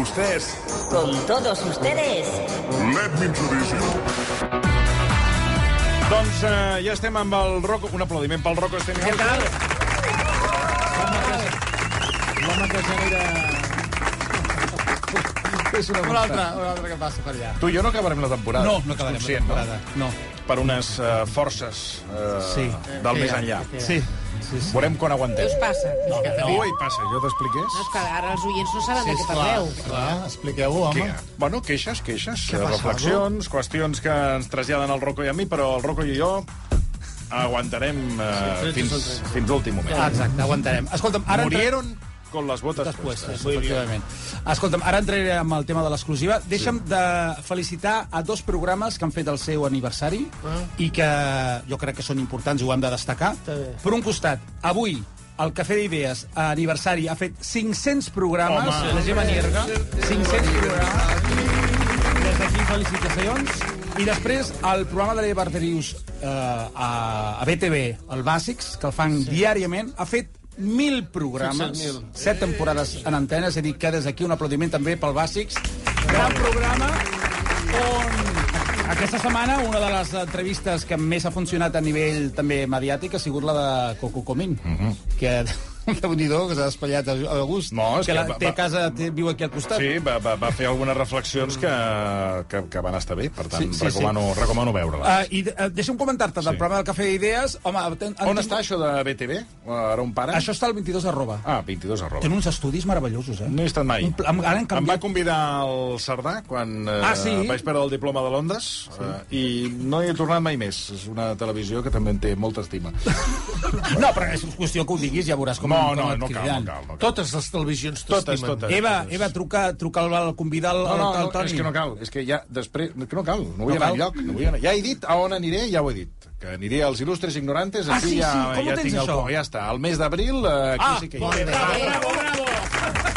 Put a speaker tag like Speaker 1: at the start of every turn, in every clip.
Speaker 1: ustedes.
Speaker 2: Con todos ustedes.
Speaker 1: Let me introduce you.
Speaker 3: Doncs eh, ja estem amb el Rocco. Un aplaudiment pel Rocco Stenhouse.
Speaker 4: Què tal? L'home que genera...
Speaker 3: És una
Speaker 4: Un altre, un altre que passa per allà.
Speaker 3: Tu i jo no acabarem la temporada.
Speaker 4: No, no acabarem la
Speaker 3: Conscient,
Speaker 4: temporada, no.
Speaker 3: Per unes eh, forces eh, sí. del més enllà.
Speaker 4: Sí. sí, sí.
Speaker 3: Veurem quan
Speaker 5: Què
Speaker 3: aguantem.
Speaker 5: us passa? No, no, no.
Speaker 3: Ui, passa, jo t'expliqués?
Speaker 5: és que ara els oients no saben
Speaker 4: Sí,
Speaker 5: de què
Speaker 4: esclar,
Speaker 5: parleu.
Speaker 4: esclar, expliqueu-ho, home.
Speaker 3: Que, bueno, queixes, queixes,
Speaker 4: ha passat,
Speaker 3: reflexions, qüestions que ens traslladen al Rocco i a mi, però el Rocco i jo aguantarem eh,
Speaker 4: Sí,
Speaker 3: fins,
Speaker 4: tretze són tretze.
Speaker 3: fins l'últim moment.
Speaker 4: Ah, exacte, aguantarem. Escolta'm, ara... entra-
Speaker 3: Murieron con les botes
Speaker 4: Botes
Speaker 3: puestas.
Speaker 4: puestes, efectivament. Escolta'm, ara entraré amb el tema de l'exclusiva. Deixa'm de felicitar a dos programes que han fet el seu aniversari i que jo crec que són importants i ho hem de destacar.
Speaker 6: bé.
Speaker 4: Per un costat, avui el Cafè d'Idees a aniversari ha fet 500 programes,
Speaker 3: Home.
Speaker 4: la Gemma Nierga, 500 programes. Des d'aquí, felicitacions. I després, el programa de la Barterius eh, a, a BTV, el Bàsics, que el fan sí. diàriament, ha fet mil programes, set temporades en antena, és a dir, que des d'aquí un aplaudiment també pel Bàsics. Gran programa on aquesta setmana una de les entrevistes que més ha funcionat a nivell també mediàtic ha sigut la de Coco Comín,
Speaker 3: Mhm.
Speaker 4: que déu nhi que s'ha espatllat a a gust.
Speaker 3: No, és
Speaker 4: que,
Speaker 3: que
Speaker 4: la,
Speaker 3: va-
Speaker 4: té
Speaker 3: va-
Speaker 4: casa, té, viu aquí al costat.
Speaker 3: Sí, va, va, va fer algunes reflexions que, que, que van estar bé, per tant,
Speaker 4: Sí,
Speaker 3: sí,
Speaker 4: sí,
Speaker 3: sí, recomano, sí. recomano veure-la.
Speaker 4: Uh, I uh, deixa'm comentar-te del
Speaker 3: Sí.
Speaker 4: programa del Cafè d'Idees. Home, ten,
Speaker 3: On eh? està això de BTV? Ara on para?
Speaker 4: Això està al 22 arroba.
Speaker 3: Ah, 22 arroba.
Speaker 4: Tenen uns estudis meravellosos, eh?
Speaker 3: No he estat mai.
Speaker 4: Un pla- Ara han
Speaker 3: Em va
Speaker 4: canviat...
Speaker 3: convidar el Cerdà quan eh,
Speaker 4: Ah, sí?
Speaker 3: vaig perdre el diploma de Londres sí. eh, i no hi he tornat mai més. És una televisió que també en té molta estima.
Speaker 4: No, però és qüestió que ho diguis, ja veuràs com...
Speaker 3: No,
Speaker 4: com
Speaker 3: no,
Speaker 4: et
Speaker 3: no cal,
Speaker 4: criden.
Speaker 3: no cal. No cal.
Speaker 6: Totes les televisions
Speaker 3: Totes,
Speaker 6: t'estimen.
Speaker 3: totes.
Speaker 4: Eva, Eva, truca, truca el, el convidar el,
Speaker 3: No, no,
Speaker 4: el, el
Speaker 3: no,
Speaker 4: Toni.
Speaker 3: és que no cal. És que ja després... No, que no cal, no vull
Speaker 4: No
Speaker 3: anar
Speaker 4: cal?
Speaker 3: enlloc. No vull anar. Ja he dit a on aniré, ja ho he dit. Que aniré als il·lustres ignorantes.
Speaker 4: Ah,
Speaker 3: aquí
Speaker 4: sí, sí,
Speaker 3: ja,
Speaker 4: com ho
Speaker 3: ja
Speaker 4: tens,
Speaker 3: tinc
Speaker 4: això?
Speaker 3: El, po- ja està. Al mes d'abril, eh, aquí
Speaker 4: Ah,
Speaker 3: sí que hi
Speaker 6: molt
Speaker 3: aniré.
Speaker 6: bé.
Speaker 5: Eh?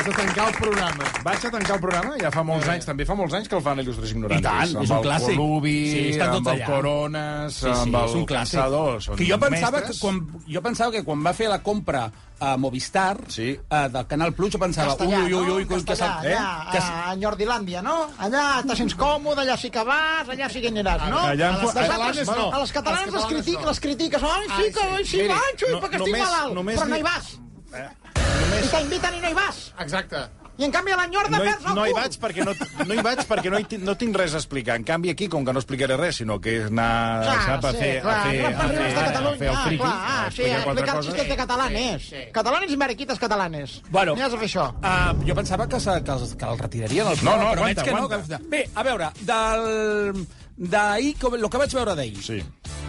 Speaker 6: Has de tancar el programa.
Speaker 3: Vaig a tancar el programa, ja fa molts anys, també fa molts anys que el fan Il·lustres Ignorants.
Speaker 4: I tant, és un
Speaker 3: Amb
Speaker 4: clàssic.
Speaker 3: el Colubi,
Speaker 4: Sí, estan tots
Speaker 3: amb el
Speaker 4: allà.
Speaker 3: Coronas,
Speaker 4: Sí, sí,
Speaker 3: amb
Speaker 4: és
Speaker 3: el
Speaker 4: un clàssic.
Speaker 3: Caçador. Són
Speaker 4: que jo pensava que
Speaker 3: mestres.
Speaker 4: quan, jo pensava que quan va fer la compra a Movistar,
Speaker 3: Sí.
Speaker 4: a, del Canal Plus, jo pensava...
Speaker 7: Castellà,
Speaker 4: ui, ui, ui,
Speaker 7: no?
Speaker 4: ui, que s'ha... eh?
Speaker 7: Castellà, allà,
Speaker 4: Que
Speaker 7: a Nordilàndia, no? Allà te sents còmode, allà sí que vas, allà sí que aniràs, no?
Speaker 3: Allà en-
Speaker 7: a les
Speaker 6: catalanes
Speaker 7: catalanes, A
Speaker 6: no.
Speaker 7: les
Speaker 6: A les
Speaker 7: catalanes les,
Speaker 6: catalanes
Speaker 7: critiques,
Speaker 6: no.
Speaker 7: les critiques. Ai, sí que, ai, sí,
Speaker 3: miri,
Speaker 7: vaig, ui,
Speaker 3: no-
Speaker 7: perquè estic
Speaker 3: només-
Speaker 7: malalt.
Speaker 3: només
Speaker 7: Però
Speaker 3: li-
Speaker 7: no hi vas. I t'inviten i no hi vas.
Speaker 6: Exacte.
Speaker 7: I en canvi a l'enyorda
Speaker 3: no hi,
Speaker 7: perds el
Speaker 3: no hi
Speaker 7: cul.
Speaker 3: vaig perquè no, no hi vaig perquè no, hi, ti- no tinc res a explicar. En canvi, aquí, com que no explicaré res, sinó que és anar
Speaker 7: Clar,
Speaker 3: Ah, sap, a,
Speaker 7: Ah, sí,
Speaker 3: fer,
Speaker 7: clar,
Speaker 3: a, fer,
Speaker 7: clar,
Speaker 3: a,
Speaker 7: parles
Speaker 3: fer, a
Speaker 7: de
Speaker 3: fer
Speaker 7: Catalunya,
Speaker 3: el
Speaker 7: ah,
Speaker 3: friki,
Speaker 7: clar,
Speaker 3: a
Speaker 7: ah, sí,
Speaker 3: explicar quatre
Speaker 7: explicar el
Speaker 3: coses.
Speaker 7: xistet de catalanes. Catalanes i mariquites catalanes.
Speaker 4: Bueno.
Speaker 7: Aniràs a fer això.
Speaker 4: Uh, jo pensava que, se, que, els- que el retirarien del
Speaker 3: No,
Speaker 4: programa,
Speaker 3: no,
Speaker 4: però veig
Speaker 3: aguanta,
Speaker 4: que
Speaker 3: aguanta.
Speaker 4: No, que... Bé, a veure, del... D'ahir, com- lo que vaig veure d'ahir.
Speaker 3: Sí.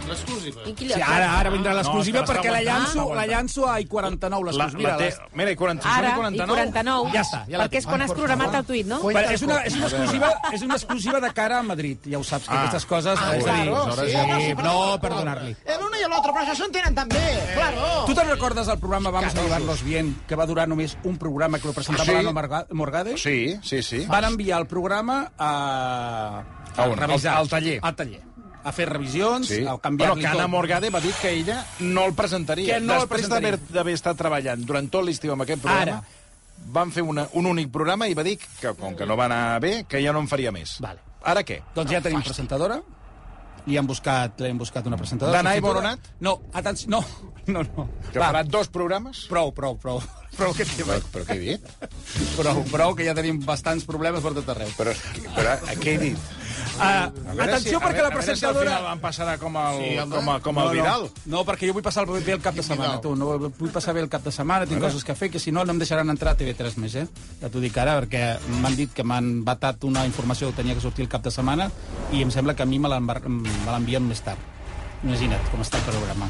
Speaker 6: L'exclusiva.
Speaker 5: I qui
Speaker 4: Sí, ara, ara vindrà l'exclusiva
Speaker 3: No, és que l'està
Speaker 4: perquè la
Speaker 3: aguantant,
Speaker 4: llanço,
Speaker 3: aguanta.
Speaker 4: la llanço a I49,
Speaker 3: La,
Speaker 4: l'exclusiva.
Speaker 3: la
Speaker 4: Mira,
Speaker 3: té,
Speaker 4: les-
Speaker 3: mira, i 46
Speaker 5: Ara,
Speaker 3: i
Speaker 5: i
Speaker 3: 49.
Speaker 5: 49,
Speaker 4: Ja està, ja la
Speaker 5: ja perquè és quan has programat el tuit, no?
Speaker 4: Bueno, és, una, és, una exclusiva, és una exclusiva de cara a Madrid. Ja ho saps, que
Speaker 3: Ah.
Speaker 4: aquestes coses...
Speaker 3: Ah,
Speaker 4: és a
Speaker 3: claro,
Speaker 4: dir,
Speaker 3: sí,
Speaker 4: sí,
Speaker 3: home, sí,
Speaker 4: no, perdonar-li.
Speaker 7: Eh, L'una i l'altra, però això s'entenen també. Claro.
Speaker 4: Tu te'n recordes el programa Vamos a llevarnos bien, que va durar només un programa que lo presentava
Speaker 3: Sí.
Speaker 4: sí. l'Anna Marga- Morgade?
Speaker 3: Sí, sí, sí.
Speaker 4: Van enviar el programa a...
Speaker 3: A on?
Speaker 4: revisar.
Speaker 3: Al- al taller.
Speaker 4: Al taller. A fer revisions,
Speaker 3: Sí.
Speaker 4: a
Speaker 3: Però
Speaker 4: canviar-li
Speaker 3: que Anna
Speaker 4: tot.
Speaker 3: Morgade va dir que ella no el presentaria.
Speaker 4: Que no el
Speaker 3: Després
Speaker 4: presentaria.
Speaker 3: d'haver- d'haver estat treballant durant tot l'estiu amb aquest programa,
Speaker 4: Ara.
Speaker 3: van fer una, un únic programa i va dir que, com que no va anar bé, que ja no en faria més.
Speaker 4: Vale.
Speaker 3: Ara què?
Speaker 4: Doncs ja tenim presentadora. Li han buscat, li han buscat una presentadora.
Speaker 3: Danai
Speaker 4: substituta.
Speaker 3: Boronat?
Speaker 4: No, atenció, no, no, no.
Speaker 3: Que
Speaker 4: Va,
Speaker 3: farà dos programes?
Speaker 4: prou, prou, prou. Prou, que té,
Speaker 3: Però, però què he dit?
Speaker 4: prou, prou, que ja tenim bastants problemes per tot arreu.
Speaker 3: Però, però a què he dit?
Speaker 4: Uh, atenció,
Speaker 3: a veure-
Speaker 4: perquè la
Speaker 3: A veure si
Speaker 4: presentadora...
Speaker 3: al final em passarà com el,
Speaker 6: Sí, home.
Speaker 3: com, a, com el Vidal.
Speaker 4: No, no, perquè jo vull passar bé el cap de setmana, tu. No, vull passar bé el cap de setmana, tinc coses que fer, que si no, no em deixaran entrar a TV3 més, eh? Ja t'ho dic ara, perquè m'han dit que m'han batat una informació que tenia que sortir el cap de setmana i em sembla que a mi me l'han- me l'envien més tard. Imagina't com està el programa.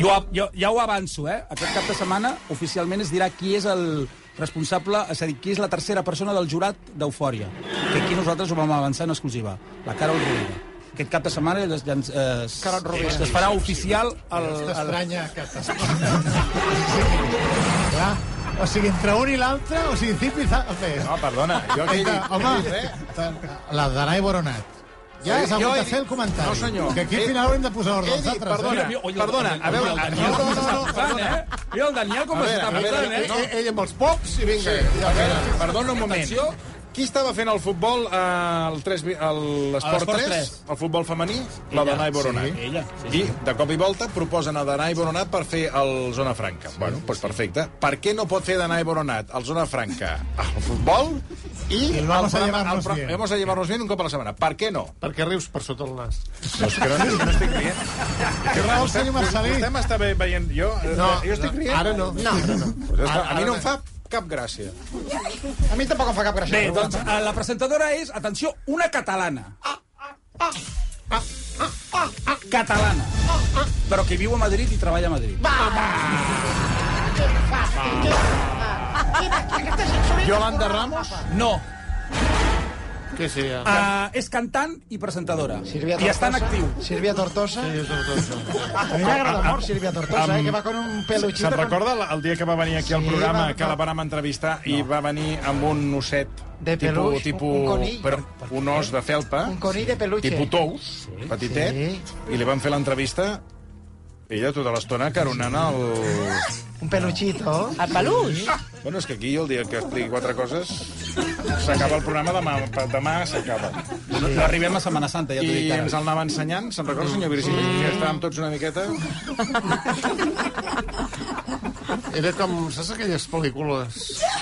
Speaker 4: Jo, jo, ja ho avanço, eh? Aquest cap de setmana oficialment es dirà qui és el responsable, és a dir, qui és la tercera persona del jurat d'Eufòria. Que aquí nosaltres ho vam avançar en exclusiva. La Carol Rovira. Aquest cap de setmana ja, ens- ja ens, eh, s-
Speaker 6: Carol Rovira.
Speaker 4: es farà oficial el, el...
Speaker 6: T'estranya que t'estranya. Clar, o sigui, entre un i l'altre, o sigui, Zipi... Zape.
Speaker 3: No, perdona, jo què he
Speaker 6: Aita,
Speaker 3: dit?
Speaker 6: Home,
Speaker 3: Què he dit, eh?
Speaker 6: la Danai Boronat, Ja has hagut
Speaker 8: he
Speaker 6: de
Speaker 8: dit-
Speaker 6: fer el comentari.
Speaker 8: No, senyor.
Speaker 6: Que aquí
Speaker 8: He-
Speaker 6: al final haurem de posar ordre
Speaker 8: He
Speaker 6: als
Speaker 8: dit,
Speaker 6: altres. eh?
Speaker 8: perdona,
Speaker 4: Mira, oi, el
Speaker 8: perdona,
Speaker 4: Daniel,
Speaker 8: a veure,
Speaker 4: el Daniel
Speaker 8: no, no,
Speaker 4: com
Speaker 8: no,
Speaker 4: s'està
Speaker 8: no,
Speaker 4: portant, eh? Mira el Daniel com
Speaker 8: A veure,
Speaker 4: s'està
Speaker 8: a veure,
Speaker 4: portant, eh?
Speaker 8: ell, ell amb els pops i vinga. A veure, perdona un moment. Atenció. Qui estava fent el futbol eh, al 3 vi- al l'esport
Speaker 4: l'Esport
Speaker 8: 3, 3,
Speaker 4: tres.
Speaker 8: el futbol femení, la Danai Boronat.
Speaker 4: sí, ella,
Speaker 8: I
Speaker 4: sí,
Speaker 8: de cop i volta proposen a Danai Boronat per fer el Zona Franca. bueno, doncs perfecte. Per què no pot fer Danai Boronat el Zona Franca al futbol i,
Speaker 6: el vamos a
Speaker 8: programa-
Speaker 6: llevarnos
Speaker 8: el pro-
Speaker 6: bien.
Speaker 8: Vamos a llevarnos bien un cop a la setmana. Per què no?
Speaker 6: Perquè rius per sota el nas.
Speaker 8: No, és que no, no estic rient.
Speaker 6: Que raó, senyor Marcelí.
Speaker 3: Vostè m'està ve- veient... Jo,
Speaker 8: eh,
Speaker 3: no,
Speaker 6: No,
Speaker 3: jo estic
Speaker 6: no,
Speaker 3: rient.
Speaker 6: Ara no.
Speaker 5: No.
Speaker 8: Pues ja està, a mi no em fa cap gràcia.
Speaker 7: A mi tampoc em fa cap gràcia.
Speaker 4: Bé, doncs eh, la presentadora és, atenció, una catalana. Catalana. Però que viu a Madrid i treballa a Madrid.
Speaker 8: Yolanda Ramos?
Speaker 4: No,
Speaker 6: Que sí, ja.
Speaker 4: eh, és cantant i presentadora.
Speaker 7: Silvia
Speaker 4: I està en actiu.
Speaker 7: Silvia Tortosa. A mi m'agrada molt Silvia Tortosa, eh, que va con un peluchito.
Speaker 3: Se'n recorda la- el dia que va venir aquí al
Speaker 7: Sí,
Speaker 3: programa,
Speaker 7: va-
Speaker 3: que la vàrem entrevistar, i va venir amb un osset...
Speaker 7: De peluix,
Speaker 3: tipus,
Speaker 7: un conill.
Speaker 3: Però, un os de felpa.
Speaker 7: Un conill de peluche.
Speaker 3: Tipus tous, sí. petitet.
Speaker 7: Sí.
Speaker 3: I li van fer l'entrevista ella tota l'estona caronant el...
Speaker 7: Con Un peluchito.
Speaker 5: El peluix.
Speaker 3: Bueno, és que aquí el dia que expliqui quatre coses s'acaba el programa demà, per demà s'acaba.
Speaker 4: No, no arribem a Setmana Santa, ja t'ho
Speaker 3: I
Speaker 4: dic
Speaker 3: ens
Speaker 4: ara.
Speaker 3: el anava ensenyant, se'n recorda, senyor Virgili? Que estàvem tots una miqueta...
Speaker 9: Era com, saps aquelles pel·lícules?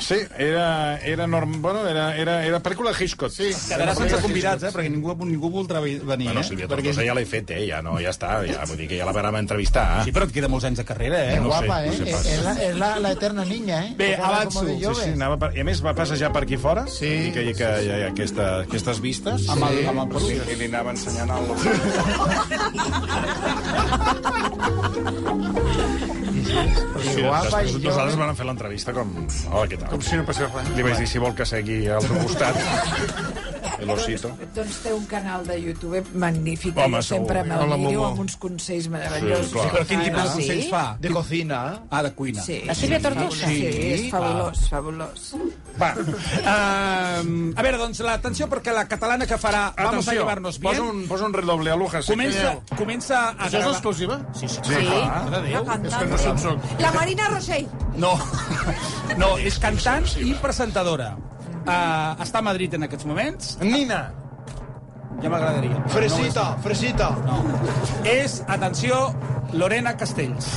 Speaker 3: Sí, era, era, norm... bueno, era, era, era pel·lícula de Hitchcock. Sí.
Speaker 4: Quedarà sense convidats, eh? Perquè ningú, ningú voldrà vi- venir,
Speaker 3: Bueno,
Speaker 4: eh?
Speaker 3: Sílvia Tortosa ja l'he fet, eh? Ja, no, ja està, ja, vull dir que ja la vam entrevistar.
Speaker 4: Sí, però et queda molts anys de carrera, eh?
Speaker 7: Qué
Speaker 3: no sé,
Speaker 7: guapa,
Speaker 3: no
Speaker 7: eh.
Speaker 3: sé
Speaker 7: Es-
Speaker 3: pas.
Speaker 7: es la, es la, la eterna niña, eh.
Speaker 4: Bé,
Speaker 7: Recordada
Speaker 4: avanço.
Speaker 7: como de
Speaker 4: Sí,
Speaker 3: Sí,
Speaker 7: jove.
Speaker 3: sí, anava per... I a més va passejar per aquí fora
Speaker 9: Sí.
Speaker 3: i que hi ha, que hi ha aquesta, aquestes vistes
Speaker 4: Amb el, amb el
Speaker 3: i,
Speaker 4: peluix.
Speaker 3: i li anava ensenyant el...
Speaker 7: I guapa i
Speaker 3: Després nosaltres
Speaker 7: jove.
Speaker 3: vam fer l'entrevista com... Hola, què tal?
Speaker 9: Com si no passés res.
Speaker 3: Li vaig dir si vol que segui al teu costat. El osito.
Speaker 10: Doncs té un canal de YouTube magnífic.
Speaker 3: Home,
Speaker 10: Home, sempre
Speaker 3: segur.
Speaker 9: Hola,
Speaker 10: me'l miro
Speaker 9: Momo.
Speaker 10: amb uns consells meravellosos.
Speaker 3: Sí, clar.
Speaker 4: Però quin tipus de
Speaker 5: Ah, sí?
Speaker 4: consells fa?
Speaker 6: De cocina.
Speaker 4: Ah, de cuina.
Speaker 10: Sí.
Speaker 5: La Sílvia Tortosa?
Speaker 10: Sí, és fabulós, fabulós.
Speaker 4: Va. Uh, a veure, doncs, l'atenció, perquè la catalana que farà Vamos a llevarnos
Speaker 3: posa
Speaker 4: bien,
Speaker 3: un, posa un redoble a l'uja.
Speaker 4: comença, comença a
Speaker 9: Això és
Speaker 4: gravar...
Speaker 9: exclusiva? Sí, sí.
Speaker 5: Sí.
Speaker 10: La
Speaker 9: És que no
Speaker 10: cantant.
Speaker 9: se'n soc.
Speaker 10: La Marina Rossell.
Speaker 4: No, no, és cantant i presentadora. Uh, està a Madrid en aquests moments.
Speaker 8: Nina!
Speaker 4: Ja m'agradaria.
Speaker 6: Fresita, fresita.
Speaker 4: És, atenció, Lorena Castells.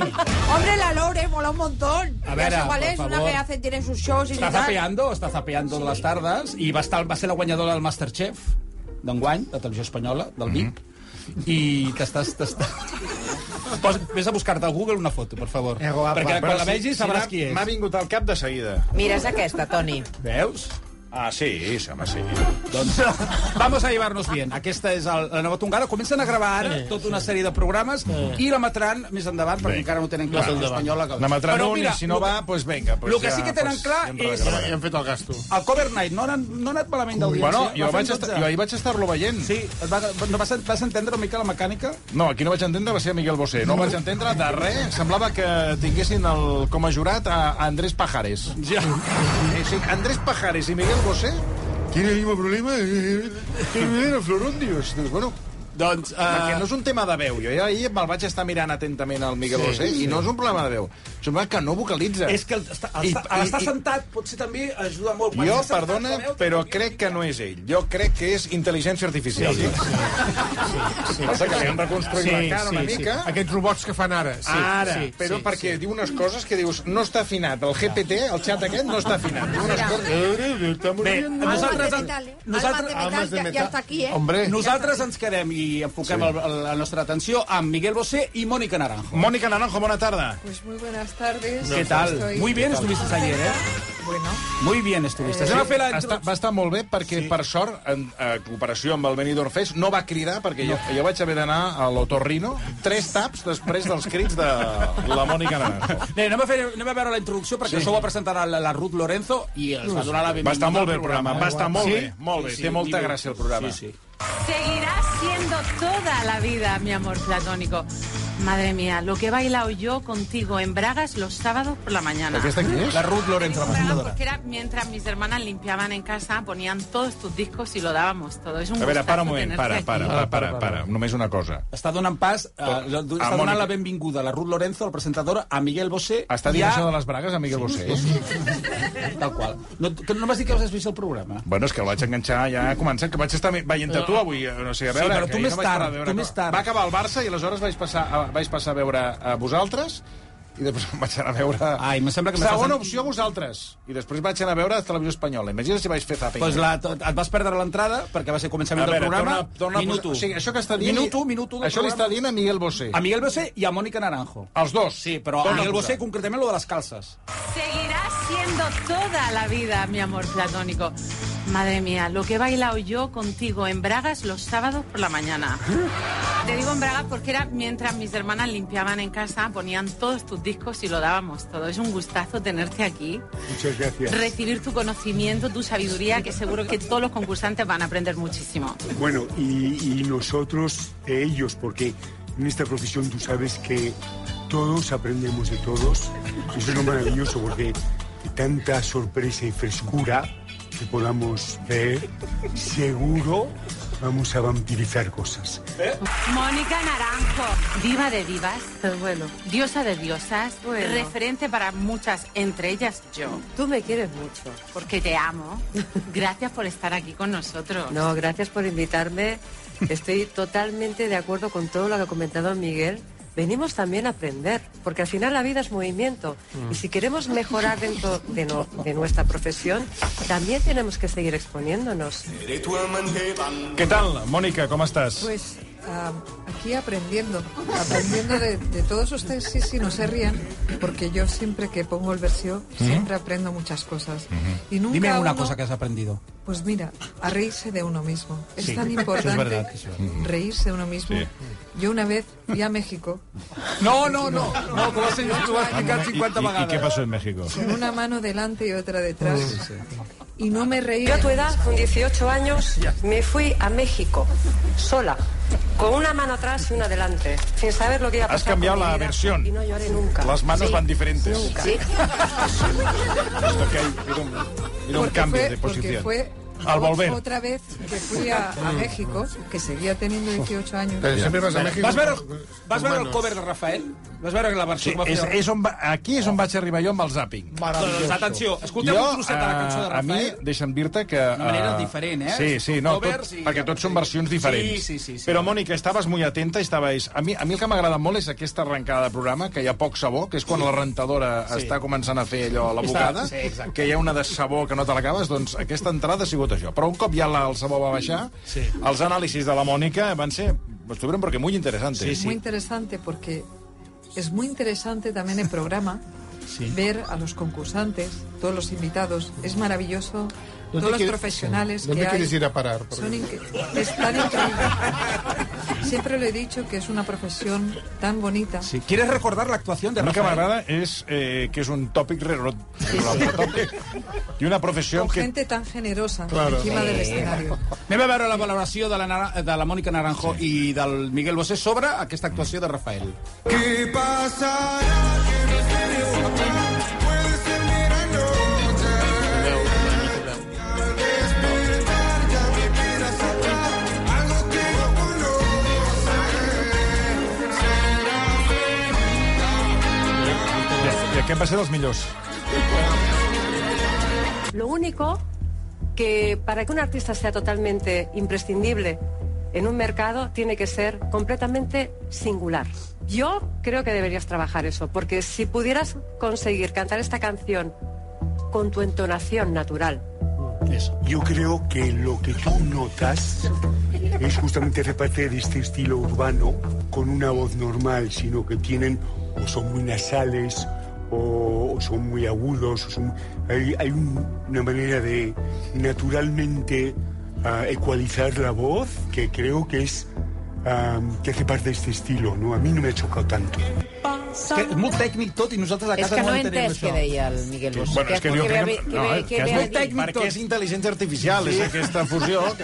Speaker 10: Hombre, la Lore, mola un montón.
Speaker 4: A veure,
Speaker 10: Ya sé cuál
Speaker 4: por
Speaker 10: es, una
Speaker 4: favor.
Speaker 10: que hace, tiene sus shows y
Speaker 4: Està
Speaker 10: tal.
Speaker 4: zapeando, està zapeando sí. les tardes i va, estar, va ser la guanyadora del Masterchef d'enguany, de televisió espanyola,
Speaker 3: Mhm.
Speaker 4: del VIP. I t'estàs... t'estàs- Posa, vés a buscar-te al Google una foto, per favor.
Speaker 7: Eh, guapa.
Speaker 4: Perquè quan la vegis sabràs qui
Speaker 3: M'ha
Speaker 4: és.
Speaker 3: vingut al cap de seguida.
Speaker 5: Mira, és aquesta, Toni.
Speaker 4: Veus?
Speaker 3: Ah, sí, sí, home, sí.
Speaker 4: Doncs vamos a llevarnos bien. Aquesta és el, la nova tongada. Comencen a gravar ara tota una sèrie de programes i l'emetran més endavant, perquè
Speaker 3: Bé.
Speaker 4: encara no tenen clar
Speaker 3: Més endavant.
Speaker 4: l'espanyola. Que...
Speaker 3: N'emetran
Speaker 4: Però
Speaker 3: un
Speaker 4: mira,
Speaker 3: i si no
Speaker 4: lo que-
Speaker 3: va, doncs vinga. Pues
Speaker 4: lo que sí que tenen clar és-
Speaker 9: Ja, ja hem fet el gasto.
Speaker 4: El Cover Night no ha, anat- no ha anat malament d'audiència.
Speaker 3: Bueno, jo,
Speaker 4: Va fer
Speaker 3: vaig
Speaker 4: un
Speaker 3: estar,
Speaker 4: 12.
Speaker 3: jo ahir vaig estar-lo veient.
Speaker 4: Sí, et va, no vas, vas entendre una mica la mecànica?
Speaker 3: No, aquí no vaig entendre va ser a Miguel Bosé. No vaig entendre de res. Semblava que tinguessin el, com a jurat a Andrés Pajares.
Speaker 4: Ja.
Speaker 3: Eh, sí, Andrés Pajares i Miguel Bosé tienen el mismo problema que viven a Florondios. Dius, bueno,
Speaker 4: Doncs,
Speaker 3: perquè no
Speaker 4: uh,
Speaker 3: és un tema de veu. Jo ja ahir me'l vaig estar mirant atentament al Miguel Bosé i no és un problema de veu. És un problema que no vocalitza.
Speaker 4: és que el, està, el,
Speaker 3: I-
Speaker 4: està, el estar
Speaker 3: i- i-
Speaker 4: sentat potser també ajuda molt. Quan
Speaker 3: Jo,
Speaker 4: estàs sentat,
Speaker 3: perdona,
Speaker 4: la veu també
Speaker 3: però
Speaker 4: canvia.
Speaker 3: crec que no és ell. Jo crec que és intel·ligència artificial. Sí, sí, sí, sí. Passa que li han reconstruït sí, la cara una mica.
Speaker 9: Aquests robots que fan ara. Sí,
Speaker 3: Ara,
Speaker 9: sí,
Speaker 3: però
Speaker 9: sí,
Speaker 3: perquè diu unes coses que dius, no està afinat, el GPT, el xat aquest, no està afinat. Diu unes coses...
Speaker 4: Bé,
Speaker 10: Almas
Speaker 4: nosaltres,
Speaker 10: de
Speaker 4: en,
Speaker 10: metal, eh?
Speaker 4: nosaltres,
Speaker 10: Almas de metal, ya, ya está aquí, eh.
Speaker 9: Hombre,
Speaker 4: nosaltres ens quedem i enfoquem sí. el, la nostra atenció amb Miguel Bosé i Mónica Naranjo.
Speaker 3: Mònica Naranjo, bona tarda.
Speaker 10: Pues muy buenas tardes.
Speaker 4: ¿Qué tal? Muy bien estuviste ayer, ¿eh?
Speaker 10: Bueno.
Speaker 4: Muy bien estuviste. Se va fer la...
Speaker 3: Està, va estar molt bé perquè, sí. per sort, en eh, cooperació amb el Benidorm Fest, no va cridar perquè no. jo, jo vaig haver d'anar a l'Otorrino tres taps després dels crits de la Mònica Naranjo.
Speaker 4: Bé, anem a, fer, anem a veure la introducció perquè sí. això ho va presentar la, la Ruth Lorenzo i es va donar la benvinguda.
Speaker 3: Va estar molt bé
Speaker 4: al
Speaker 3: el programa, va estar molt bé, molt bé. Té molta
Speaker 4: i bé.
Speaker 3: gràcia el programa.
Speaker 4: Sí, sí.
Speaker 5: Seguirás siendo toda la vida mi amor platónico.
Speaker 11: Madre mía, lo que he bailado yo contigo en Bragas los sábados por la
Speaker 3: Pues
Speaker 11: mañana.
Speaker 4: ¿Aquesta quién es? La Ruth Lorenzo, la presentadora.
Speaker 11: Porque era mientras mis hermanas limpiaban en casa, ponían todos tus discos y lo dábamos todo. Es un
Speaker 3: A veure, para
Speaker 11: gustazo
Speaker 3: un moment,
Speaker 11: tenerte
Speaker 3: para,
Speaker 11: aquí.
Speaker 3: para, para, para, para. Només una cosa.
Speaker 4: Està donant pas, eh, està
Speaker 3: a
Speaker 4: donant
Speaker 3: Mònica.
Speaker 4: la benvinguda a la Ruth Lorenzo, la presentadora, a Miguel Bosé.
Speaker 3: Està
Speaker 4: i
Speaker 3: dient
Speaker 4: a-
Speaker 3: això de les bragues a Miguel Bosé?
Speaker 4: Tal qual. No, que no vas dir que vas vist el programa.
Speaker 3: Bueno, és que el vaig enganxar ja començant, que vaig estar veient-te tu avui, eh, no sé, a
Speaker 4: Sí,
Speaker 3: veure...
Speaker 4: però
Speaker 3: que
Speaker 4: tu
Speaker 3: ahir
Speaker 4: més
Speaker 3: no vaig parar
Speaker 4: tard,
Speaker 3: de
Speaker 4: tu
Speaker 3: veure
Speaker 4: més tard.
Speaker 3: Va acabar el Barça i aleshores vaig passar a, vaig passar a veure a vosaltres i després em vaig anar a veure...
Speaker 4: Ai, em sembla que m'estàs
Speaker 3: Segona
Speaker 4: en-
Speaker 3: opció, vosaltres. I després vaig anar a veure Televisió Espanyola. Imagina't si vaig fer zapping.
Speaker 4: Pues la, et vas perdre l'entrada perquè va ser començament del programa.
Speaker 3: torna, torna a
Speaker 4: minut
Speaker 3: posar-
Speaker 4: 1.
Speaker 3: O sigui, això que està dient...
Speaker 4: Minut 1, minut 1
Speaker 3: Això li està dient a Miguel Bosé.
Speaker 4: A Miguel Bosé i a Mònica Naranjo.
Speaker 3: Els dos.
Speaker 4: Sí, però a
Speaker 3: Torna
Speaker 4: Miguel
Speaker 3: posar.
Speaker 4: Bosé concretament lo de les calces.
Speaker 11: Seguirás siendo toda la vida mi amor platónico. Madre mía, lo que he bailado yo contigo en Bragas los sábados por la mañana. Te digo en Bragas porque era mientras mis hermanas limpiaban en casa, ponían todos tus discos y lo dábamos todo. Es un gustazo tenerte aquí,
Speaker 7: Muchas gracias.
Speaker 11: recibir tu conocimiento, tu sabiduría, que seguro que todos los concursantes van a aprender muchísimo.
Speaker 12: Bueno, y, y nosotros, de ellos, porque en esta profesión tú sabes que todos aprendemos de todos. Eso es lo maravilloso, porque tanta sorpresa y frescura que podamos ver, seguro vamos a vampirizar cosas.
Speaker 11: Mónica Naranjo, diva de divas, diosa de diosas,
Speaker 10: Bueno.
Speaker 11: referente para muchas, entre ellas yo.
Speaker 10: Tú me quieres mucho.
Speaker 11: Porque te amo. Gracias por estar aquí con nosotros.
Speaker 10: No, gracias por invitarme. Estoy totalmente de acuerdo con todo lo que ha comentado Miguel. Venimos también a aprender, porque al final la vida es movimiento.
Speaker 4: Mm.
Speaker 10: Y si queremos mejorar dentro de, no- de nuestra profesión, también tenemos que seguir exponiéndonos.
Speaker 3: Què tal, Mònica, com estàs?
Speaker 10: Pues ah, aquí aprendiendo, aprendiendo de, de todos ustedes. Sí, sí, no se rían, porque yo siempre que pongo el versión, siempre aprendo muchas cosas. Y nunca
Speaker 4: Dime una
Speaker 10: uno-
Speaker 4: cosa que has aprendido.
Speaker 10: Pues mira, a reírse de uno mismo. Es
Speaker 4: Sí,
Speaker 10: tan
Speaker 4: eso es
Speaker 10: importante
Speaker 4: verdad, eso es verdad.
Speaker 10: reírse de uno mismo. Yo una vez fui a México
Speaker 4: No, no, no. No, tu vas, tu vas explicar 50
Speaker 3: I,
Speaker 4: vegades.
Speaker 3: què passó en México?
Speaker 10: con una mano delante y otra detrás. Y no me reía.
Speaker 11: Yo a tu edad,
Speaker 10: con 18 años, me fui a México sola, con una mano atrás y una delante, sin saber lo que iba a
Speaker 3: Has cambiado la versión.
Speaker 10: no lloré nunca.
Speaker 3: Las manos van diferentes.
Speaker 10: Sí.
Speaker 3: Esto que hay, mira un, mira un
Speaker 10: Porque
Speaker 3: cambio
Speaker 10: fue-
Speaker 3: de
Speaker 10: Porque
Speaker 3: posición.
Speaker 10: fue
Speaker 3: Al volver.
Speaker 10: otra vez que fui a,
Speaker 4: Mm.
Speaker 10: a México, que seguía teniendo 18 años.
Speaker 7: Pero siempre vas a México...
Speaker 4: Vas veure,
Speaker 7: con-
Speaker 4: vas veure el
Speaker 7: manos.
Speaker 4: cover de Rafael? Vas veure la versió
Speaker 3: Sí,
Speaker 4: que va fer...
Speaker 3: és, és on va, aquí és on vaig arribar jo amb el zapping.
Speaker 4: Doncs atenció, escoltem un trosset de la
Speaker 3: eh,
Speaker 4: cançó de
Speaker 3: a mi,
Speaker 4: Rafael.
Speaker 3: deixa'm dir-te que... Una
Speaker 4: manera diferent, eh?
Speaker 3: Sí, sí, no,
Speaker 4: Covers
Speaker 3: tot,
Speaker 4: i-
Speaker 3: perquè tots són versions diferents.
Speaker 4: Sí, sí, sí, sí.
Speaker 3: Però, Mònica, estaves molt atenta, estaves... A mi, a mi el que m'agrada molt és aquesta arrencada de programa, que hi ha poc sabó, que és quan la rentadora sí. està començant a fer allò a la
Speaker 4: Està-
Speaker 3: bocada,
Speaker 4: sí, exacte.
Speaker 3: que hi ha una de sabó que no te l'acabes, doncs aquesta entrada ha sigut això. Però un cop ja la, el sabó va baixar, sí. els anàlisis de la Mònica van ser... Estuvieron porque muy interesantes.
Speaker 10: Es muy interesante porque es muy interesante también el programa, ver a los concursantes, todos los invitados, es maravilloso,
Speaker 7: ¿Dónde
Speaker 10: todos los
Speaker 7: quieres-
Speaker 10: profesionales
Speaker 7: ¿Dónde
Speaker 10: que hay.
Speaker 7: quieres ir a parar? Porque-
Speaker 10: son inque- es tan increíble. Siempre lo he dicho que es una profesión tan bonita.
Speaker 4: Sí. ¿Quieres recordar la actuación de
Speaker 3: A mi que
Speaker 4: Rafael?
Speaker 3: m'agrada és eh, que és un tòpic rere l'altre tòpic. I una professió
Speaker 10: Con
Speaker 3: que...
Speaker 10: gente tan generosa
Speaker 7: Claro.
Speaker 10: encima del escenario.
Speaker 4: Anem a veure la valoració de la, Nara- de la Mònica Naranjo sí. i del Miguel Bosé sobre aquesta actuació de Rafael.
Speaker 3: Ja, ja que hem passat els millors.
Speaker 11: Lo único
Speaker 13: Que para que un artista sea totalmente imprescindible en un mercado, tiene que ser completamente singular. Yo creo que deberías trabajar eso, porque si pudieras conseguir cantar esta canción con tu entonación natural,
Speaker 12: Yo creo que lo que tú notas es justamente hace parte de este estilo urbano con una voz normal, sino que tienen o son muy nasales o, o son muy agudos. o son- hay hay un- una manera de naturalmente ah, ecualizar la voz que creo que es ah, que hace parte de este estilo. No, a mí no me ha chocado tanto.
Speaker 11: Pam,
Speaker 4: És que és molt tècnic tot i nosaltres a
Speaker 14: casa
Speaker 4: és que
Speaker 14: no, no
Speaker 4: entenem això.
Speaker 14: que deia el Miguel Bosé.
Speaker 8: Bueno, és que diu que...
Speaker 14: No,
Speaker 3: eh,
Speaker 8: que és molt tècnic Perquè és intel·ligència artificial, és aquesta fusió.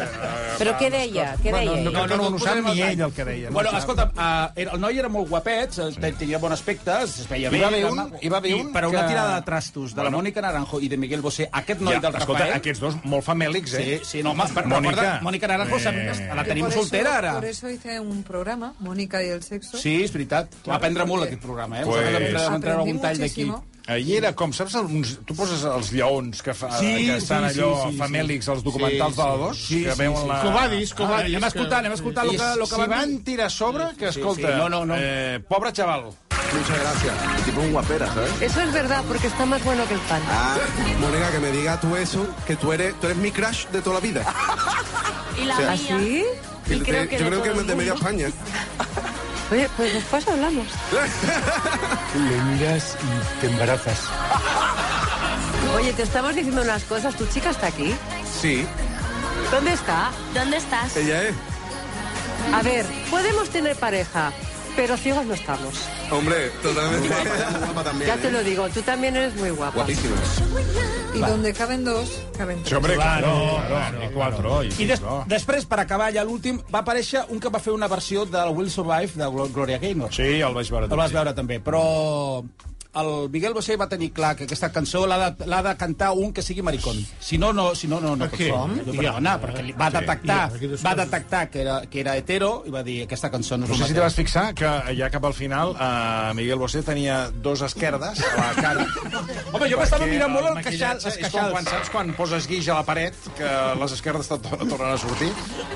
Speaker 8: Que,
Speaker 14: Però què deia? Què
Speaker 4: Bueno,
Speaker 14: deia?
Speaker 4: no,
Speaker 14: ell?
Speaker 4: no, no, no, no ho sap ni ell, el
Speaker 3: que deia.
Speaker 4: Bueno, escolta'm, uh, era, el noi era molt guapet, eh, te- tenia bon aspecte, es veia
Speaker 3: Hi
Speaker 4: bé.
Speaker 3: va haver
Speaker 4: era
Speaker 3: un-
Speaker 4: maco.
Speaker 3: hi va haver
Speaker 4: I
Speaker 3: un
Speaker 4: Per una
Speaker 3: que-
Speaker 4: tirada de trastos de la
Speaker 3: Bueno.
Speaker 4: Mònica Naranjo i de Miguel Bosé, aquest noi
Speaker 3: Ja,
Speaker 4: del
Speaker 3: escolta,
Speaker 4: Rafael...
Speaker 3: aquests dos molt famèlics, eh?
Speaker 4: Sí, sí, no, home, per,
Speaker 3: Mònica.
Speaker 4: recorda, Mònica Naranjo, eh. la
Speaker 15: Que
Speaker 4: tenim
Speaker 15: por eso-
Speaker 4: soltera, ara.
Speaker 15: Por eso hice un programa, Mónica y el sexo.
Speaker 4: Sí, és veritat. Va aprendre molt aquest programa, eh?
Speaker 3: Pues-
Speaker 4: Vosaltres en vam treure
Speaker 15: Aprendí
Speaker 4: un tall d'aquí.
Speaker 15: muchísimo.
Speaker 3: Ahir era com, saps, alguns, tu poses els lleons que, fa,
Speaker 4: Sí,
Speaker 3: que estan
Speaker 4: sí, sí,
Speaker 3: allò
Speaker 4: sí, sí.
Speaker 3: famèlics, els documentals
Speaker 4: Sí,
Speaker 3: de la
Speaker 4: sí.
Speaker 3: 2,
Speaker 4: Sí,
Speaker 3: que
Speaker 4: sí,
Speaker 3: veuen
Speaker 4: sí.
Speaker 3: la...
Speaker 9: Covadis,
Speaker 4: Ah,
Speaker 9: covadis.
Speaker 4: anem a escoltar, anem a escoltar el
Speaker 3: I
Speaker 4: que, lo que
Speaker 3: si van,
Speaker 4: van dir.
Speaker 3: tirar a sobre, que
Speaker 4: sí,
Speaker 3: escolta,
Speaker 4: sí. No, no, no.
Speaker 3: Eh, pobre xaval.
Speaker 16: Muchas gracias. Tipo un guapera, ¿sabes?
Speaker 10: Eso es verdad, porque está más bueno que el pan.
Speaker 16: Ah, Mónica, que me digas tú eso, que tú eres, tú eres mi crush de toda la vida.
Speaker 11: Y la
Speaker 16: Sí.
Speaker 11: mía.
Speaker 16: ¿Ah,
Speaker 10: ¿Sí?
Speaker 16: Y te-
Speaker 10: creo que
Speaker 16: yo
Speaker 10: de
Speaker 16: creo que
Speaker 10: todo
Speaker 16: es de
Speaker 10: el
Speaker 16: media
Speaker 10: mundo.
Speaker 16: España.
Speaker 10: Oye, pues después hablamos.
Speaker 12: Le miras y te embarazas.
Speaker 10: Oye, te estamos diciendo unas cosas. ¿Tu chica está aquí?
Speaker 16: Sí,
Speaker 10: ¿Dónde está?
Speaker 11: ¿Dónde estás?
Speaker 7: Eh,
Speaker 16: ella es.
Speaker 10: A ver, podemos tener pareja, pero ciegos no estamos.
Speaker 16: Hombre, totalmente. Guapa también,
Speaker 10: Ya te
Speaker 16: ¿eh?
Speaker 10: lo digo, tú también eres muy guapa.
Speaker 16: Guapísima.
Speaker 15: Y donde caben dos, caben tres.
Speaker 3: Hombre,
Speaker 4: Claro,
Speaker 3: claro, i quatre, i
Speaker 4: I des,
Speaker 3: cinco.
Speaker 4: després, per acabar ja l'últim, va aparèixer un que va fer una versió del Will Survive de Glo- Gloria Gaynor.
Speaker 3: Sí, el vaig veure.
Speaker 4: El vas veure també, però el Miguel Bosé va tenir clar que aquesta cançó l'ha de, l'ha de cantar un que sigui maricón. Si no, no, si no, no, no
Speaker 9: Per què?
Speaker 4: Perdona, perquè li va
Speaker 3: Sí.
Speaker 4: detectar,
Speaker 9: Mira, aquí
Speaker 4: va detectar que era, que era hetero i va dir aquesta cançó no és
Speaker 3: No
Speaker 4: el
Speaker 3: sé si te vas
Speaker 4: mateix.
Speaker 3: fixar que ja cap al final eh, Miguel Bosé tenia dos esquerdes a la cara.
Speaker 4: Home, jo m'estava
Speaker 3: Perquè
Speaker 4: mirant molt el
Speaker 3: maquillatge
Speaker 4: queixal, els
Speaker 3: És com
Speaker 4: queixals.
Speaker 3: quan saps quan poses guix a la paret que les esquerdes te to- tornen a sortir.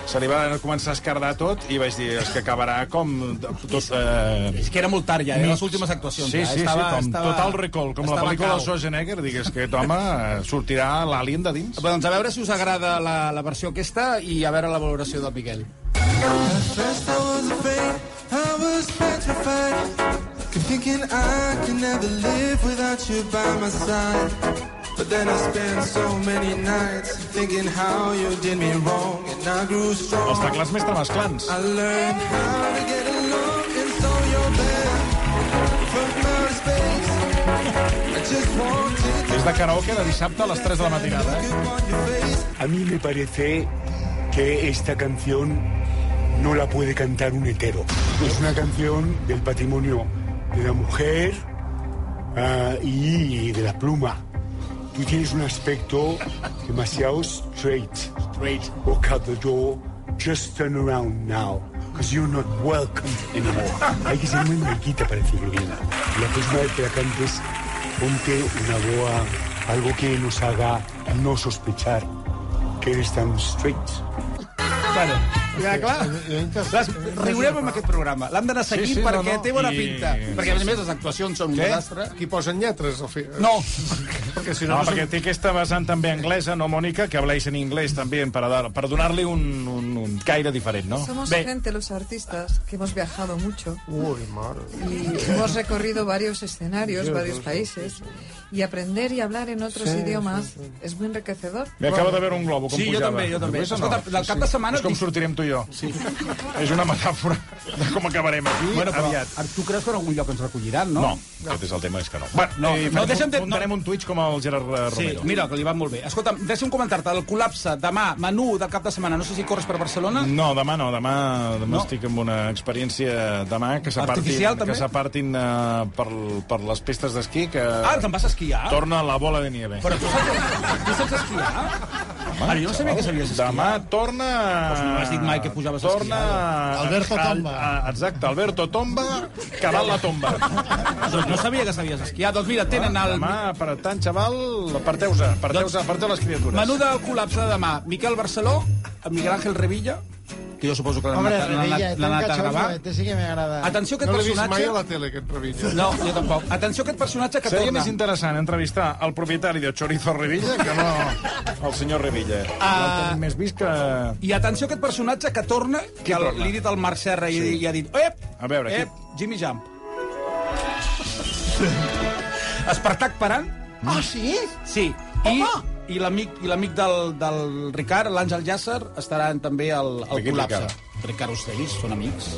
Speaker 3: Se li va començar a escardar tot i vaig dir, és que acabarà com tot... Eh,
Speaker 4: És que era molt tard ja, eren les últimes actuacions.
Speaker 3: Sí,
Speaker 4: ja.
Speaker 3: sí,
Speaker 4: estava,
Speaker 3: sí, com
Speaker 4: estava,
Speaker 3: Total Recall, com la
Speaker 4: estava
Speaker 3: pel·lícula de
Speaker 4: cau.
Speaker 3: Schwarzenegger, digues que, home, eh, sortirà l'alien de dins.
Speaker 4: Doncs a veure si us agrada la, la versió aquesta i a veure la valoració del Miguel.
Speaker 17: First I was afraid, I was petrified. Kept thinking I could never live without you by my side. But then I spent so many nights thinking how you did me wrong, and I grew strong.
Speaker 3: Els teclats més temesclans.
Speaker 17: I learned how to get along, and so you're there from outer space. I just wanted
Speaker 3: És de karaoke de dissabte a les 3 de la matinada. Eh?
Speaker 17: on your face.
Speaker 12: A mí me parece que esta canción no la puede cantar un hetero. Es una canción del patrimonio de la mujer ah, y de la pluma. Tú tienes un aspecto demasiado straight. Straight. Walk out the door, just turn around now, because you're not welcome anymore. Hay que ser muy mariquita para decirlo bien. La próxima vez que la cantes, ponte una boa, algo que nos haga no sospechar que eres tan straight.
Speaker 4: Bueno, ja, clar. Les, riurem amb aquest programa. L'han d'anar seguint
Speaker 3: Sí, sí, no,
Speaker 4: perquè
Speaker 3: no.
Speaker 4: té bona
Speaker 3: I-
Speaker 4: pinta. Perquè, a més, les actuacions són un
Speaker 9: Què?
Speaker 4: desastre.
Speaker 9: Qui posen lletres, al fi?
Speaker 4: ¿Eh? No,
Speaker 9: Perquè si
Speaker 3: No,
Speaker 9: no...
Speaker 3: no, perquè té aquesta vessant també anglesa, no, Mònica, que habléis en anglès també per, dar- per donar-li un, un, un caire diferent, no?
Speaker 15: Somos
Speaker 4: Ve.
Speaker 15: gente, los artistas, que hemos viajado mucho
Speaker 9: Ui, mare.
Speaker 15: y hemos recorrido varios escenarios, varios países. Y aprender y hablar en otros idiomas es muy enriquecedor.
Speaker 3: Me acaba de veure un globo, com
Speaker 4: Sí, jo
Speaker 3: pujava.
Speaker 4: també, jo també.
Speaker 3: Ho veus o
Speaker 4: Escolta, del cap de setmana-
Speaker 3: És com sortirem tu i jo. Sí. És una metàfora de com acabarem aquí
Speaker 4: Bueno, però
Speaker 3: aviat.
Speaker 4: tu creus que en algun lloc ens recolliran, no?
Speaker 3: No, aquest és el tema, és que no. Bueno,
Speaker 4: No,
Speaker 3: eh,
Speaker 4: no,
Speaker 3: farem-
Speaker 4: deixa'm de- no.
Speaker 3: muntarem un Twitch com el Gerard eh,
Speaker 4: Sí,
Speaker 3: Romero.
Speaker 4: mira, que li va molt bé. Escolta'm, deixa'm comentar-te el col·lapse demà, menú del cap de setmana. No sé si corres per Barcelona.
Speaker 3: No, demà no, demà, demà
Speaker 4: No?
Speaker 3: estic amb una experiència demà que s'apartin
Speaker 4: Artificial, també?
Speaker 3: que s'apartin uh, per, per les pistes d'esquí que
Speaker 4: Ah, te'n vas a esquiar?
Speaker 3: torna la bola de nieve.
Speaker 4: Però tu saps, tu saps esquiar? Home, jo no sabia que sabies esquiar.
Speaker 3: Demà torna...
Speaker 4: Doncs no m'has dit mai que pujaves a
Speaker 3: torna...
Speaker 4: esquiar.
Speaker 6: Alberto
Speaker 3: Al-
Speaker 6: Tomba.
Speaker 3: a- Exacte, Alberto Tomba, cavat la tomba.
Speaker 4: Doncs no sabia que sabies esquiar. Doncs mira, tenen el...
Speaker 3: Demà, per tant, xaval, aparteu-se, aparteu-se, aparteu les criatures.
Speaker 4: Menú del col·lapse de demà. Miquel Barceló, Miguel Àngel Revilla, que jo suposo que l'han
Speaker 7: Hombre,
Speaker 4: anat- l'han
Speaker 7: Revilla, eh,
Speaker 4: anat- l'han
Speaker 7: tan
Speaker 4: anat a gravar.
Speaker 7: cachondo, este sí que me agrada.
Speaker 4: Atenció a
Speaker 9: No
Speaker 4: aquest
Speaker 9: l'he vist mai a la
Speaker 4: personatge...
Speaker 9: tele, aquest Revilla.
Speaker 4: No, jo tampoc. Atenció a aquest personatge que
Speaker 3: Seria
Speaker 4: torna.
Speaker 3: més interessant entrevistar el propietari de Chorizo Revilla que no el senyor Revilla.
Speaker 4: Ah.
Speaker 3: El tenim més vist que...
Speaker 4: I atenció a aquest personatge que torna, que el-
Speaker 3: torna?
Speaker 4: li ha dit al Marc Serra i, i ha dit... Ep,
Speaker 3: A veure, qui-
Speaker 4: ep, Jimmy Jump. Espartac Paran,
Speaker 3: Mm.
Speaker 7: Ah, sí?
Speaker 4: sí. I, i l'amic i l'amic del, del Ricard, l'Àngel Llàcer, estaran també al, al
Speaker 3: Aquí,
Speaker 4: col·lapse.
Speaker 3: Ricard.
Speaker 4: Ricard Ostells, són amics.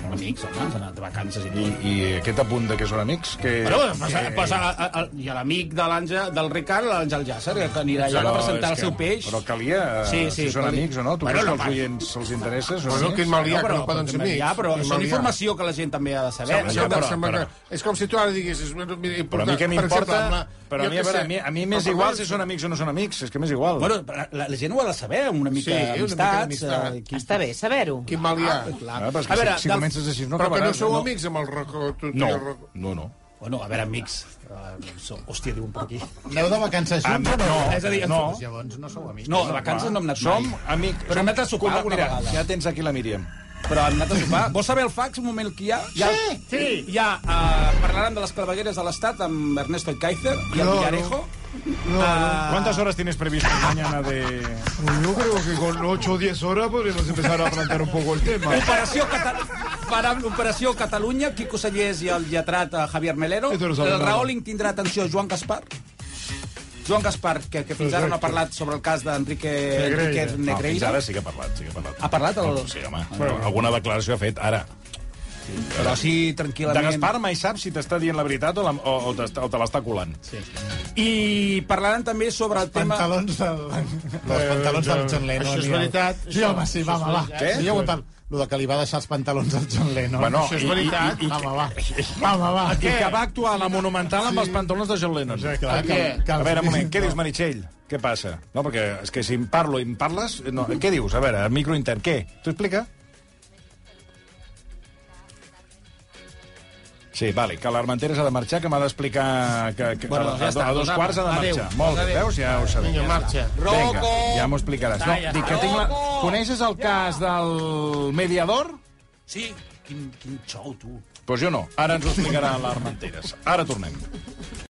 Speaker 4: som amics, home, ens han anat de vacances i tot.
Speaker 3: I, i aquest apunt de que són amics... Que,
Speaker 4: Però eh, passa, passa a, a, a, i a l'amic de l'Àngel, del Ricard, l'Àngel Llàcer, que anirà allà a presentar el seu peix.
Speaker 3: Però calia, sí, sí, si són calia. amics o no, tu bueno, creus no, que als oients se'ls interessa?
Speaker 7: Però no, que
Speaker 4: No,
Speaker 7: Maliac no poden ser amics.
Speaker 4: Ja, però això és
Speaker 7: Maliac.
Speaker 4: informació que la gent també ha de saber.
Speaker 7: Sembla-
Speaker 4: això,
Speaker 7: sembla-
Speaker 4: però-
Speaker 7: sembla
Speaker 3: però-
Speaker 7: que- És com si tu ara diguessis... Mira, mira,
Speaker 3: Però a mi
Speaker 7: per
Speaker 3: què
Speaker 7: exemple,
Speaker 3: m'importa...
Speaker 7: home,
Speaker 3: Però a
Speaker 7: jo
Speaker 3: mi,
Speaker 7: què
Speaker 3: a veure,
Speaker 7: sé.
Speaker 3: a mi, a mi m'és
Speaker 7: Però
Speaker 3: igual
Speaker 7: parlem-
Speaker 3: si són amics o no són amics, és que m'és igual.
Speaker 4: Bueno, però la, la gent ho ha de saber, una mica
Speaker 7: Sí, una mica
Speaker 4: amistats.
Speaker 7: d'amistat.
Speaker 4: eh, qui-
Speaker 18: Està bé saber-ho.
Speaker 7: Quin mal hi ha?
Speaker 3: Ah, però és que
Speaker 4: A veure,
Speaker 3: si, si
Speaker 4: del-
Speaker 3: comences així no
Speaker 7: Però que no
Speaker 3: acabaràs.
Speaker 7: sou amics amb el racó... tu- tu i
Speaker 3: No,
Speaker 7: el racó.
Speaker 3: no, no.
Speaker 4: Bueno, a veure, amics. eh, som- Hòstia, diuen per aquí.
Speaker 6: Aneu de vacances
Speaker 3: Ah,
Speaker 6: junts? o
Speaker 3: no,
Speaker 4: és a dir,
Speaker 3: no.
Speaker 6: Llavors no sou amics.
Speaker 4: No, de vacances no hem anat mai.
Speaker 3: Som amics.
Speaker 4: Però hem anat a sopar alguna
Speaker 3: mira,
Speaker 4: vegada.
Speaker 3: Ja tens aquí la Míriam.
Speaker 4: Però hem anat a sopar. Vols saber el fax, un moment, que hi ha? Hi ha sí, sí. Hi ha, uh, parlaran de les clavegueres de l'Estat amb Ernesto Kaiser i el
Speaker 7: No, no.
Speaker 4: Villarejo.
Speaker 7: No, no.
Speaker 3: ¿Cuántas horas tienes previsto mañana de...?
Speaker 7: Yo creo que con 8 o 10 horas podríamos empezar a plantear un poco el tema.
Speaker 4: Operació, Cata para Operació Catalunya, Quico Sallés i el lletrat eh, Javier Melero.
Speaker 7: Esto no sabe
Speaker 4: El
Speaker 7: nada.
Speaker 4: Raholing tindrà atenció a Joan Gaspar. Joan Gaspar, que, que fins ara no ha parlat sobre el cas d'Enrique Enrique
Speaker 3: No, Ah, fins
Speaker 4: Negreira.
Speaker 3: ara sí que ha parlat, sí que ha parlat.
Speaker 4: Ha parlat el-
Speaker 3: Sí, home, alguna declaració ha fet, ara.
Speaker 4: Però sí,
Speaker 3: De
Speaker 4: tranquil·lament.
Speaker 3: Gaspar mai saps si t'està dient la veritat o, la, o, o, t'està- o te l'està colant.
Speaker 4: Sí. I parlaran també sobre el tema...
Speaker 6: Pantalons del... Dels pantalons del John Lennon.
Speaker 7: Això és
Speaker 6: i el-
Speaker 7: veritat.
Speaker 6: Sí, home, sí, va, va, va.
Speaker 3: Què?
Speaker 6: Sí, ja ho he parlat. Lo de que li va deixar els pantalons al John Lennon.
Speaker 3: Bueno,
Speaker 6: això és
Speaker 3: i- i-
Speaker 6: veritat.
Speaker 3: i- i-
Speaker 6: va, va, va. Va, va, va.
Speaker 3: I que va actuar a la Monumental amb els pantalons de John Lennon.
Speaker 6: Sí, clar, que, que,
Speaker 3: A veure, un moment, què dius, Meritxell? Què passa? No, perquè és que si em parlo i em parles... No, què dius? A veure, el micro intern, què? T'ho explica? Sí, vale, que l'Armenteres ha de marxar, que m'ha d'explicar que, que
Speaker 4: Bueno,
Speaker 3: a,
Speaker 4: ja està,
Speaker 3: a, dos
Speaker 4: doncs
Speaker 3: quarts ha de
Speaker 4: adéu.
Speaker 3: marxar. Molt bé, veus? Ja ho sabem.
Speaker 7: Vinga, marxa.
Speaker 3: Vinga, ja m'ho explicaràs. No,
Speaker 4: Talla.
Speaker 3: dic que tinc la... Coneixes el cas del mediador?
Speaker 4: Sí, quin, quin xou, tu.
Speaker 3: Doncs pues jo no. Ara ens ho explicarà l'Armenteres. Ara tornem.